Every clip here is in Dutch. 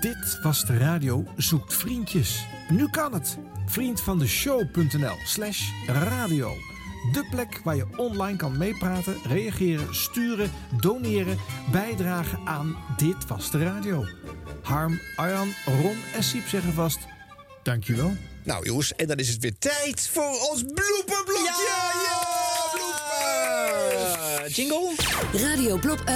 Dit was de radio Zoekt Vriendjes. Nu kan het. Vriendvandeshow.nl slash radio. De plek waar je online kan meepraten, reageren, sturen, doneren, bijdragen aan Dit was de radio. Harm, Arjan, Ron en Siep zeggen vast dankjewel. Nou jongens, en dan is het weer tijd voor ons bloeperblokje! Ja, ja bloepers! Jingle? Radio Blop... eh,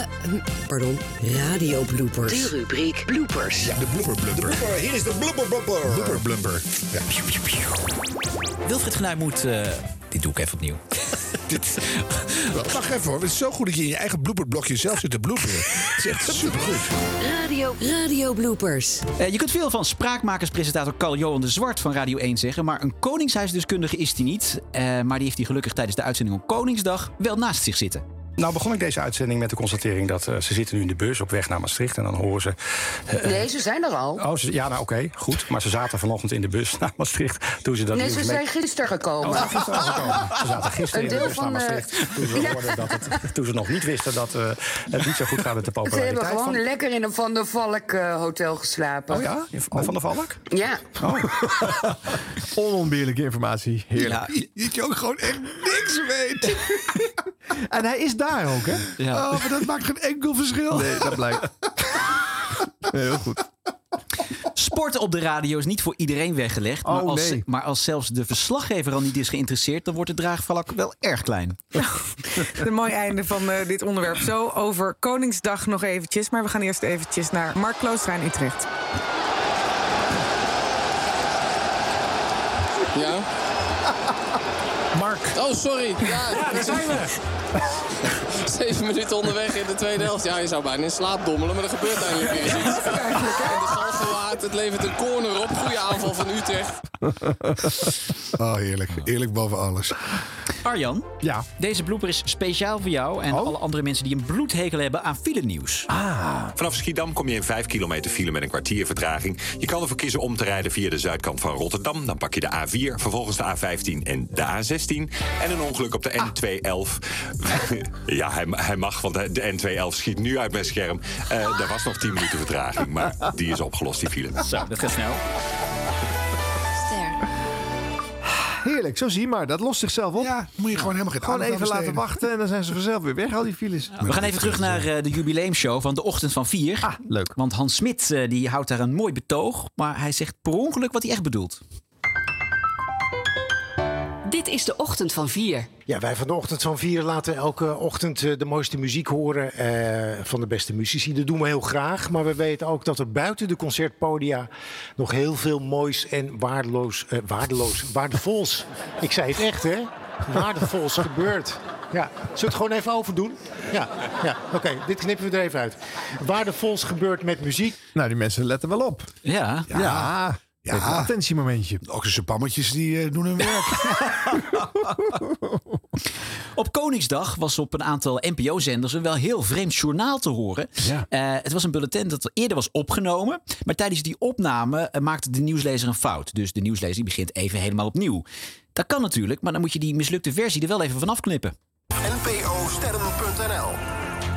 pardon, Radio Bloopers. De rubriek bloopers. Ja, de blooper blumper. De blooper, hier is de blooper blumper. Blooper blumper. Ja. Wilfried Genuij moet... eh, dit doe ik even opnieuw. Dit, wacht even hoor, het is zo goed dat je in je eigen blooperblokje zelf zit te bloeperen. Het is echt supergoed. Radio, Radio Bloopers. Eh, je kunt veel van spraakmakerspresentator Carl Johan de Zwart van Radio 1 zeggen, maar een koningshuisdeskundige is hij niet. Eh, maar die heeft hij gelukkig tijdens de uitzending op Koningsdag wel naast zich zitten. Nou begon ik deze uitzending met de constatering dat eh, ze zitten nu in de bus op weg naar Maastricht. En dan horen ze... Nee, ze zijn er al. Oh, ze- ja, nou oké, goed. Maar ze zaten vanochtend in de bus naar Maastricht. Toen ze dat Nee, nieuws ze mee- zijn gisteren Oh, ze gekomen. zijn gisteren al gekomen. Ze zaten gisteren Een in de deel bus naar van de- Maastricht. Toen ze, hoorden dat het, toen ze nog niet wisten dat eh, het niet zo goed gaat met de Ze hebben populariteit gewoon van... lekker in een Van der Valk eh, hotel geslapen. Oh ja? Bij Van der Valk? Ja. Onontbeerlijke informatie. Heerlijk. Ja, Dat je ook gewoon echt niks weet. En hij is daar ook, hè? Oh, ja. maar dat maakt geen enkel verschil. Nee, dat blijkt. Heel goed. Sporten op de radio is niet voor iedereen weggelegd. maar, Oh, als, nee. maar als zelfs de verslaggever al niet is geïnteresseerd, dan wordt het draagvlak wel erg klein. Een mooi einde van eh, dit onderwerp. Zo over Koningsdag nog eventjes. Maar we gaan eerst eventjes naar Mark Kloostra in Utrecht. Ja? Mark. Oh, sorry. Ja, daar zijn we. Zeven minuten onderweg in de tweede helft. Ja, je zou bijna in slaap dommelen, maar er gebeurt eigenlijk weer iets. En de gal gewaard, het levert een corner op. Goede aanval van Utrecht. Oh, heerlijk. Eerlijk boven alles. Ah, Arjan, Ja. deze blooper is speciaal voor jou en alle andere mensen die een bloedhekel hebben aan file nieuws. Vanaf Schiedam kom je in 5 kilometer file met een kwartier vertraging. Je kan ervoor kiezen om te rijden via de zuidkant van Rotterdam. Dan pak je de A4, vervolgens de A15 en de A16. En een ongeluk op de N211. ja, hij, hij mag, want hij- de N211 schiet nu uit mijn scherm. Eh er was nog 10 minuten vertraging, maar die is opgelost, die file. Zo, dat gaat snel. Heerlijk, zo zie je maar. Dat lost zichzelf op. Ja, moet je gewoon helemaal geen Gewoon aandacht even aan laten besteden. wachten en dan zijn ze vanzelf weer weg, al die files. We gaan even terug naar eh, de jubileumshow van de ochtend van 4. Ah, leuk. Want Hans Smit eh, die houdt daar een mooi betoog, maar hij zegt per ongeluk wat hij echt bedoelt. Dit is de ochtend van 4. Ja, wij van de ochtend van vier laten elke ochtend eh, de mooiste muziek horen eh, van de beste muzici. Dat doen we heel graag, maar we weten ook dat er buiten de concertpodia nog heel veel moois en waardeloos, eh, waardeloos, waardevols. Ik zei het echt, hè? Waardevols gebeurt. Ja, zullen we het gewoon even overdoen? Ja, ja. oké, dit knippen we er even uit. Waardevols gebeurt met muziek. Nou, die mensen letten wel op. Ja, Ja. ja. Even een attentiemomentje. Ook zijn pammetjes die eh, doen hun werk. Op Koningsdag was op een aantal NPO-zenders een wel heel vreemd journaal te horen. Ja. Eh, het was een bulletin dat eerder was opgenomen. Maar tijdens die opname eh, maakte de nieuwslezer een fout. Dus de nieuwslezer die begint even helemaal opnieuw. Dat kan natuurlijk, maar dan moet je die mislukte versie er wel even van afknippen.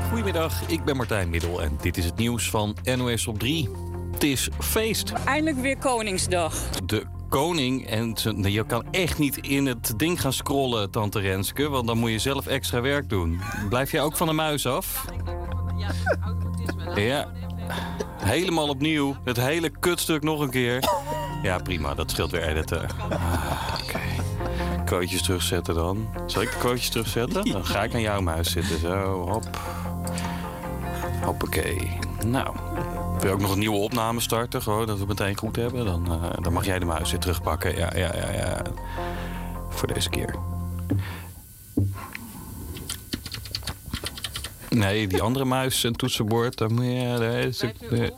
Goedemiddag, ik ben Martijn Middel en dit is het nieuws van NOS op 3. Het is feest. Eindelijk weer Koningsdag. de koning. En ze- nee, je kan echt niet in het ding gaan scrollen, tante Renske. Want dan moet je zelf extra werk doen. Blijf jij ook van de muis af? Ja, helemaal opnieuw. Het hele kutstuk nog een keer. Ja, prima. Dat scheelt weer editen. Ah, Oké. Quotejes terugzetten dan. Zal ik de quotejes terugzetten? Dan ga ik aan jouw muis zitten. Zo, hop. Hoppakee. Nou, wil je ook nog een nieuwe opname starten? Gewoon dat we het meteen goed hebben. Dan, eh, dan mag jij de muis weer terugpakken. Ja, ja, ja, ja. Voor deze keer. Nee, die andere muis en toetsenbord. Dan moet je, nee, is- ja.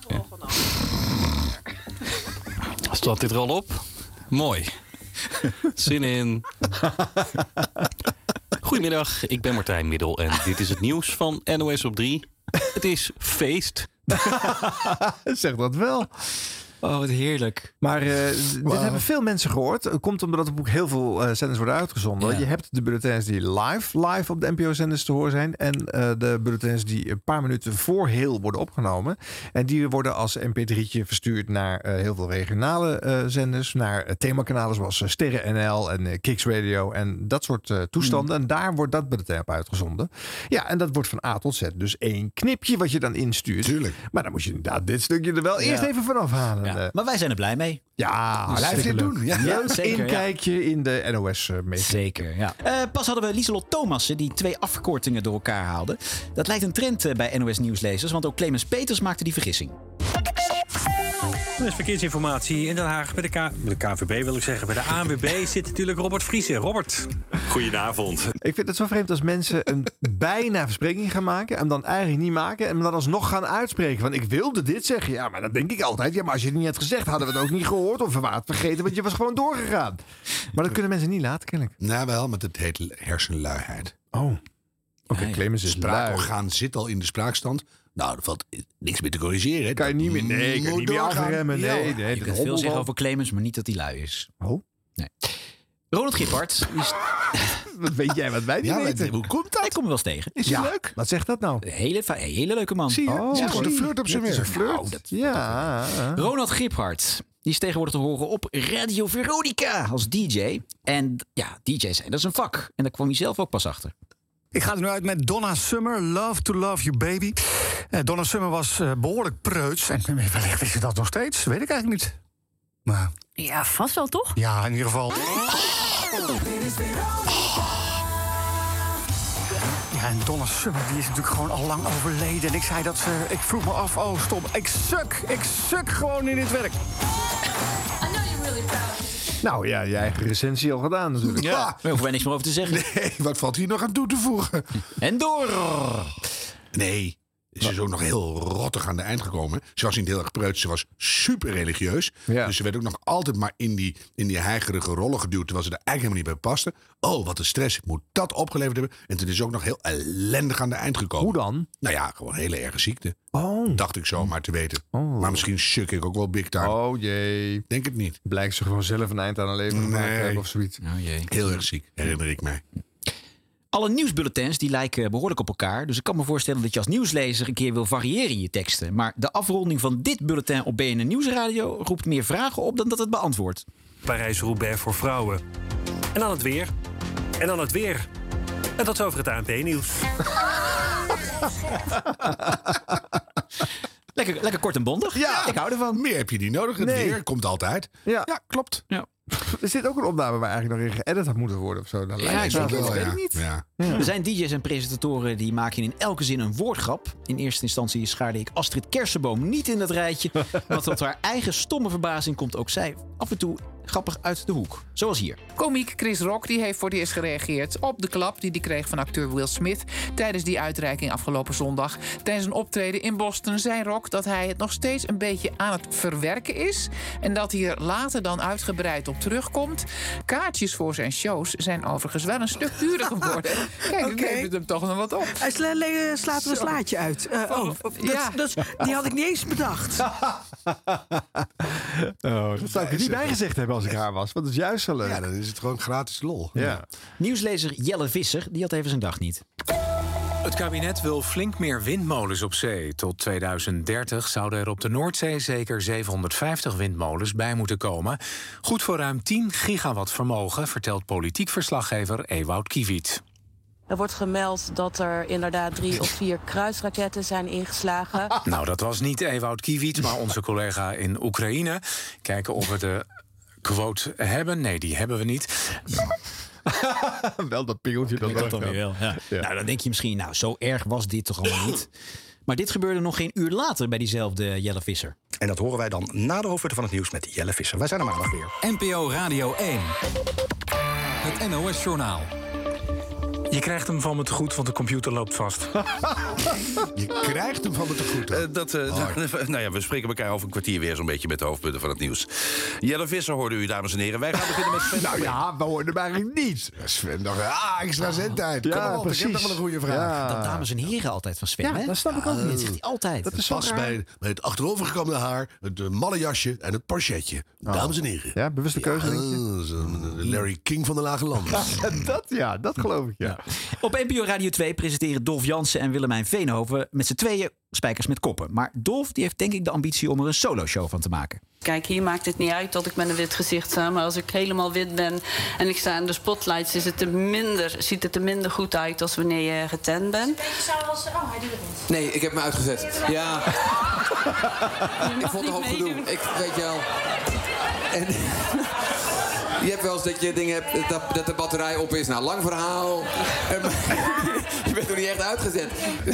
Staat dit er al op? Mooi. Zin in. Goedemiddag, ik ben Martijn Middel en dit is het nieuws van NOS op 3. Het is feest. Zeg dat wel. Oh, wat heerlijk. Maar eh, d- dit hebben veel mensen gehoord. Het komt omdat er ook heel veel eh zenders worden uitgezonden. Ja. Je hebt de bulletins die live, live op de NPO-zenders te horen zijn. En eh, de bulletins die een paar minuten voor heel worden opgenomen. En die worden als mp3'tje verstuurd naar eh, heel veel regionale eh, zenders. Naar eh, themakanalen zoals eh, Sterren NL en eh, Kicks Radio en dat soort eh, toestanden. Mm. En daar wordt dat bulletin op uitgezonden. Ja, en dat wordt van A tot Z. Dus één knipje wat je dan instuurt. Tuurlijk. Maar dan moet je inderdaad dit stukje er wel eerst Ja. even vanaf halen. Ja, Eh, Maar wij zijn er blij mee. ja, Dus blijf dit hartstikke doen. leuk. Ja. Ja, Leuk zeker, ja. inkijkje in de nos eh, meeting. Zeker, ja. Eh, pas hadden we Lieselot Thomassen die twee afkortingen door elkaar haalde. Dat lijkt een trend eh, bij NOS Nieuwslezers, want ook Clemens Peters maakte die vergissing. Er is verkeersinformatie in Den Haag bij de, K bij de KVB, wil ik zeggen. Bij de ANWB zit natuurlijk Robert Vriezen. Robert. Goedenavond. Ik vind het zo vreemd als mensen een bijna verspreking gaan maken. En dan eigenlijk niet maken. En dan alsnog gaan uitspreken. Want ik wilde dit zeggen. Ja, maar dat denk ik altijd. Ja, maar als je het niet had gezegd, hadden we het ook niet gehoord. Of we waren het vergeten, want je was gewoon doorgegaan. Maar dat kunnen mensen niet laten, kennelijk. Nou wel, maar dat heet hersenluiheid. Oh. Oké, Clemens is Spraakorgaan zit al in de spraakstand. Nou, er valt niks meer te corrigeren. Kan je niet meer, nee, kan je niet meer afremmen. Nee, nee, Je kunt veel zeggen over Clemens, maar niet dat hij lui is. Oh? Nee. Ronald Gippard. wat weet jij wat wij niet ja, weten? Hoe komt dat? Ik kom hem wel eens tegen. Is hij leuk? Wat zegt dat nou? Een hele, fi- een hele leuke man. Zie je? Oh, Zit gewoon een flirt op zijn Dat is werk. een flirt. Nou, ja. Ronald Giphart. Die is tegenwoordig te horen op Radio Veronica als DJ. En ja, DJ zijn, dat is een vak. En daar kwam hij zelf ook pas achter. Ik ga er nu uit met Donna Summer, Love to Love You Baby. Eh, Donna Summer was eh, behoorlijk preuts. En eh, wellicht is ze dat nog steeds, weet ik eigenlijk niet. Maar Ja, vast wel toch? ja, in ieder geval. Ja, en Donna Summer die is natuurlijk gewoon al lang overleden. En ik zei dat ze. Ik vroeg me af, oh stop, ik suk, ik suk gewoon in dit werk. Nou ja, je eigen recensie al gedaan natuurlijk. Ja. Daar hoeven wij niks meer over te zeggen. Nee, wat valt hier nog aan toe te voegen? En door! Oh, Nee, ze is ook nog heel rottig aan de eind gekomen. Ze was niet heel erg preuts, ze was super religieus. Dus ze werd ook nog altijd maar in die, in die heigerige rollen geduwd... terwijl ze er eigenlijk helemaal niet bij paste. Oh, wat een stress, ik moet dat opgeleverd hebben. En toen is ze ook nog heel ellendig aan de eind gekomen. Hoe dan? Nou ja, gewoon een hele erge ziekte. Oh. Dacht ik zo maar te weten. Oh. Maar misschien suk ik ook wel big time. Oh jee. Denk het niet. Blijkt ze gewoon zelf een eind aan haar leven gemaakt Nee. hebben of zoiets. Oh jee. Heel erg ziek, herinner ik mij. Alle nieuwsbulletins die lijken behoorlijk op elkaar. Dus ik kan me voorstellen dat je als nieuwslezer een keer wil variëren in je teksten. Maar de afronding van dit bulletin op BNN Nieuwsradio roept meer vragen op dan dat het beantwoordt. Parijs-Roubaix voor vrouwen. En dan het weer. En dan het weer. En dat is over het ANP-nieuws. Lekker, lekker kort en bondig. Ja, ik hou ervan. Ah, Meer heb je niet nodig. Het Nee. weer komt altijd. Ja, klopt. Ja. Er zit ook een opname waar eigenlijk nog in geëdit had moeten worden of zo. Dan lijkt Ja, het ik wel, denk het, ja. weet ik niet. Er zijn DJ's en presentatoren die maken in elke zin een woordgrap. In eerste instantie schaarde ik Astrid Kersenboom niet in dat rijtje. Want tot haar eigen stomme verbazing komt ook zij af en toe grappig uit de hoek. Zoals hier. Komiek Chris Rock die heeft voor het eerst gereageerd op de klap die hij kreeg van acteur Will Smith tijdens die uitreiking afgelopen zondag. Tijdens een optreden in Boston zei Rock dat hij het nog steeds een beetje aan het verwerken is en dat hij er later dan uitgebreid op terugkomt. Kaartjes voor zijn shows zijn overigens wel een stuk duurder geworden. Kijk, ik neemt het hem toch nog wat op. Hij sla- eh, le- slaat er een Zo. slaatje uit. Eh, oh, dat, Ja. dat, die had ik niet eens bedacht. Oh, dat zou ik er niet bij gezegd hebben als ik haar was. Want dat is juist zo leuk. Ja, dan is het gewoon gratis lol. Ja. Nieuwslezer Jelle Visser, die had even zijn dag niet. Het kabinet wil flink meer windmolens op zee. Tot 2030 zouden er op de Noordzee zeker 750 windmolens bij moeten komen. Goed voor ruim 10 gigawatt vermogen, vertelt politiek verslaggever Ewout Kiewiet. Er wordt gemeld dat er inderdaad drie of vier kruisraketten zijn ingeslagen. Nou, dat was niet Ewout Kiewiet, maar onze collega in Oekraïne. Kijken of we de quote hebben. Nee, die hebben we niet. wel dat pingeltje. Dat klopt dan weer wel. Ja. Nou, dan denk je misschien, nou, zo erg was dit toch allemaal niet. Maar dit gebeurde nog geen uur later bij diezelfde Jelle Visser. En dat horen wij dan na de hoofdwet van het nieuws met Jelle Visser. Wij zijn er maandag weer. NPO Radio 1. Het NOS Journaal. Je krijgt hem van me te goed, want de computer loopt vast. Je krijgt hem van me te goed. dat, eh, nou ja, we spreken elkaar over een kwartier weer zo'n beetje met de hoofdpunten van het nieuws. Jelle Visser hoorde u, dames en heren. Wij gaan beginnen met Sven. Nou ja, we hoorden hem eigenlijk niet. Sven dacht, ah, extra zendtijd. Kom op, ik heb nog wel een goede vraag. Ah, Dat dames en heren altijd van Sven, Ja, hè? dat snap ik ook niet. Dat zegt hij altijd. Dat past bij, bij het achterovergekamde haar, het eh, malle jasje en het parchetje. Dames en heren. Oh. Ah, Ja, Mm. bewuste keuze, denk je? dat is een Larry King van de Lage Landen. dat, ja, dat geloof ik, ja. Op NPO Radio 2 presenteren Dolf Jansen en Willemijn Veenhoven met z'n tweeën Spijkers met Koppen. Maar Dolf die heeft denk ik de ambitie om er een solo-show van te maken. Kijk, hier maakt het niet uit dat ik met een wit gezicht sta. Maar als ik helemaal wit ben en ik sta in de spotlights, is het er minder, ziet het er minder goed uit als wanneer je getent bent. Oh, hij doet het niet. Nee, ik heb me uitgezet. Ja. ik vond het ook gedoe. Ik weet je wel. En je hebt wel eens dat je dingen hebt dat, dat de batterij op is. Nou, lang verhaal. En- je bent nog niet echt uitgezet.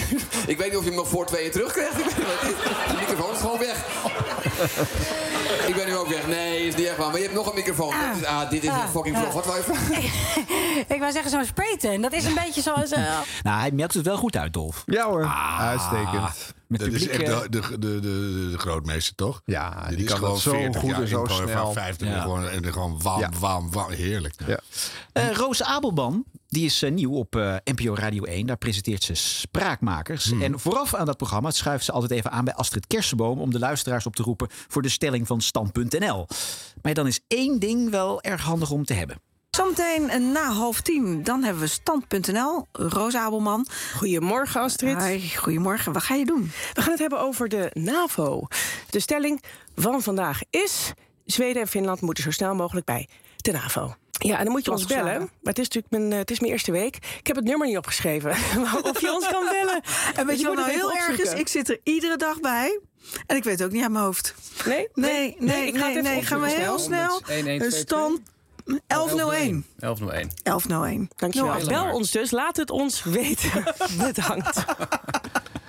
ik weet niet of je hem nog voor tweeën terugkrijgt. Ik weet het niet. De microfoon is gewoon weg. ik ben nu ook weg. Nee, is niet echt waar. Maar je hebt nog een microfoon. Dat is- ah, dit is een fucking vlog. Wat wou je vragen? Ik wou zeggen zo'n sprayten. Dat is een beetje zoals... eh, Nou, hij meldt het wel goed uit, Dolf. Ja hoor, uitstekend. Met dat is publiek, echt eh, de, de, de, de, de grootmeester, toch? Ja, Dit die is kan gewoon dat zo 40 goed jaar en zo in Power snel. 50 Ja. en gewoon, en gewoon wam, wam, wam. Heerlijk. Ja. Eh, Roos Abelman, die is eh, nieuw op eh, NPO Radio 1. Daar presenteert ze Spraakmakers. Hmm. En vooraf aan dat programma schuift ze altijd even aan bij Astrid Kersenboom... om de luisteraars op te roepen voor de stelling van Stand.nl. Maar dan is één ding wel erg handig om te hebben. Zometeen eh, na half tien, dan hebben we stand.nl, Roos Abelman. Goedemorgen Astrid. Hi, goedemorgen, wat ga je doen? We gaan het hebben over de NAVO. De stelling van vandaag is... Zweden en Finland moeten zo snel mogelijk bij de NAVO. Ja, en dan moet je ons Platgeslagen. bellen. Maar het is natuurlijk mijn, eh, het is mijn eerste week. Ik heb het nummer niet opgeschreven. maar of je ons kan bellen. En weet Dus je wat nou moet het even heel erg is? opzoeken. Ik zit er iedere dag bij. En ik weet het ook niet uit mijn hoofd. Nee? Nee, nee, nee. ik ga het nee, even Gaan we opzoeken heel snel. 1122. Een stand 1101. 1101. 1101. Dankjewel. Nou, Bel ons dus. Laat het ons weten. Bedankt.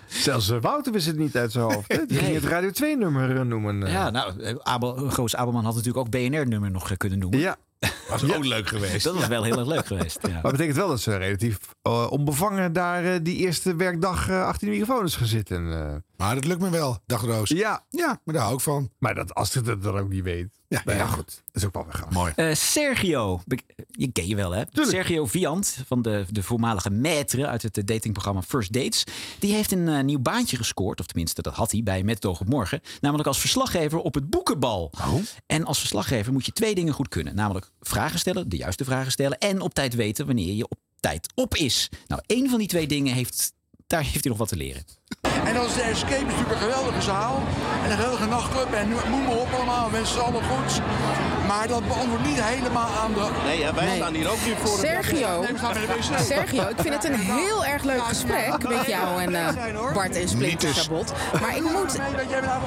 Zelfs eh, Wouter wist het niet uit zijn hoofd. hè? Die ging het Radio 2-nummer noemen. eh. Ja, nou, eh, Abel, Roos Abelman had natuurlijk ook BNR-nummer nog eh, kunnen noemen. Ja. Was ook leuk geweest. Dat was wel heel erg leuk geweest. Ja. Maar betekent wel dat ze relatief eh, onbevangen daar eh, die eerste werkdag eh, achter de microfoon is gaan zitten. eh. Maar dat lukt me wel, dag Roos. Ja. ja, maar daar hou ik van. Maar dat Astrid het dan ook niet weet. Ja, Nou ja, goed. Dat is ook wel weer Mooi. Eh, Sergio, Be- je ken je wel hè? Sergio Viant van de, de voormalige maître uit het eh, datingprogramma First Dates. Die heeft een eh, nieuw baantje gescoord, of tenminste dat had hij bij Met het Oog op Morgen. Namelijk als verslaggever op het boekenbal. Oh. En als verslaggever moet je twee dingen goed kunnen. Namelijk vragen stellen, de juiste vragen stellen. En op tijd weten wanneer je op tijd op is. Nou, één van die twee dingen heeft, daar heeft hij nog wat te leren. En dan is de Escape natuurlijk een geweldige zaal. En een geweldige nachtclub. En nu- noem maar op allemaal. Wensen ze allemaal goeds. Maar dat beantwoordt niet helemaal aan de... Nee, wij staan hier ook nu voor. Sergio, Sergio, ik vind het een heel erg leuk gesprek met jou en eh, Bart en Splinter Sabot. Maar ik moet,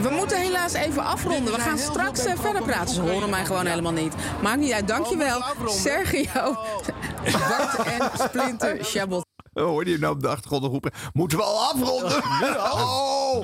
we moeten helaas even afronden. We gaan straks eh, verder praten. Ze horen mij gewoon helemaal niet. Maakt niet uit, dankjewel. Sergio, Bart en Splinter Sabot. Oh, hoor je hem nou op de achtergrond nog roepen? Moeten we al afronden?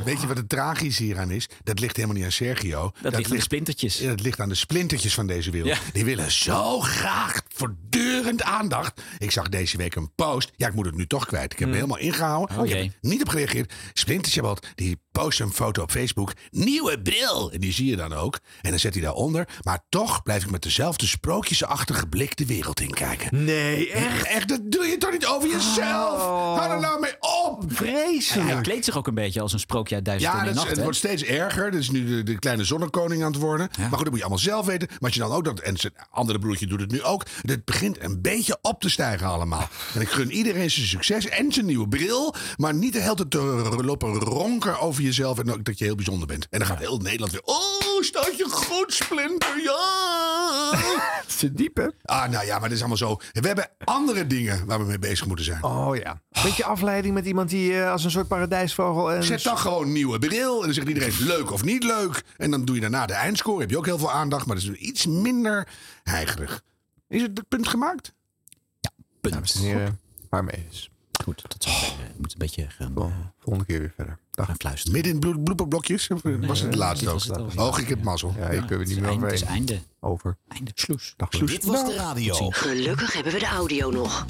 Weet je wat het tragisch hieraan is? Dat ligt helemaal niet aan Sergio. Dat, ligt aan de splintertjes. Dat ligt aan de splintertjes van deze wereld. Die willen zo graag voortdurend aandacht. Ik zag deze week een post. Ja, ik moet het nu toch kwijt. Ik heb me helemaal ingehouden. Oh Ik heb jee. er niet op gereageerd. Splintertje wat, die post een foto op Facebook. Nieuwe bril! En die zie je dan ook. En dan zet hij daaronder. Maar toch blijf ik met dezelfde sprookjesachtige blik de wereld in kijken. Nee, echt? Echt, dat doe je toch niet over jezelf? Oh. Hou er nou mee op! Vreselijk. Hij kleedt zich ook een beetje als een sprookje uit Duizend en Ja, dat Eén is- Nacht, het hè? wordt steeds erger. Dat is nu de, de kleine zonnekoning aan het worden. Maar goed, dat moet je allemaal zelf weten. Maar als je dan ook dat. En zijn andere broertje doet het nu ook. Het begint een beetje op te stijgen allemaal. En ik gun iedereen zijn succes en zijn nieuwe bril. Maar niet de hele tijd te r- lopen ronken over jezelf. En ook dat je heel bijzonder bent. En dan gaat heel Nederland weer. Oh, staat je goed, Splinter? Ja! Ze diep, hè? Ah, nou ja, maar dat is allemaal zo. We hebben andere dingen waar we mee bezig moeten zijn. Oh ja. Beetje afleiding met iemand die eh, als een soort paradijsvogel... En... Zet dan gewoon nieuwe bril. En dan zegt iedereen leuk of niet leuk. En dan doe je daarna de eindscore. Heb je ook heel veel aandacht. Maar dat is iets minder heigerig. Is het het punt gemaakt? Dames en heren, waarmee eh, is. Oh. Goed, dat is moet een beetje eh, gaan... volgende keer weer verder. Dag. Gaan fluisteren. Midden in bloed- blooperblokjes? Of was het het laatste ook? Och, ik heb mazzel. Ah, Ja, ik heb er niet meer over. overheen. Over. Einde. Sloes. Dag, Sloes. Sloes. Dit was de radio. Gelukkig hebben we de audio nog.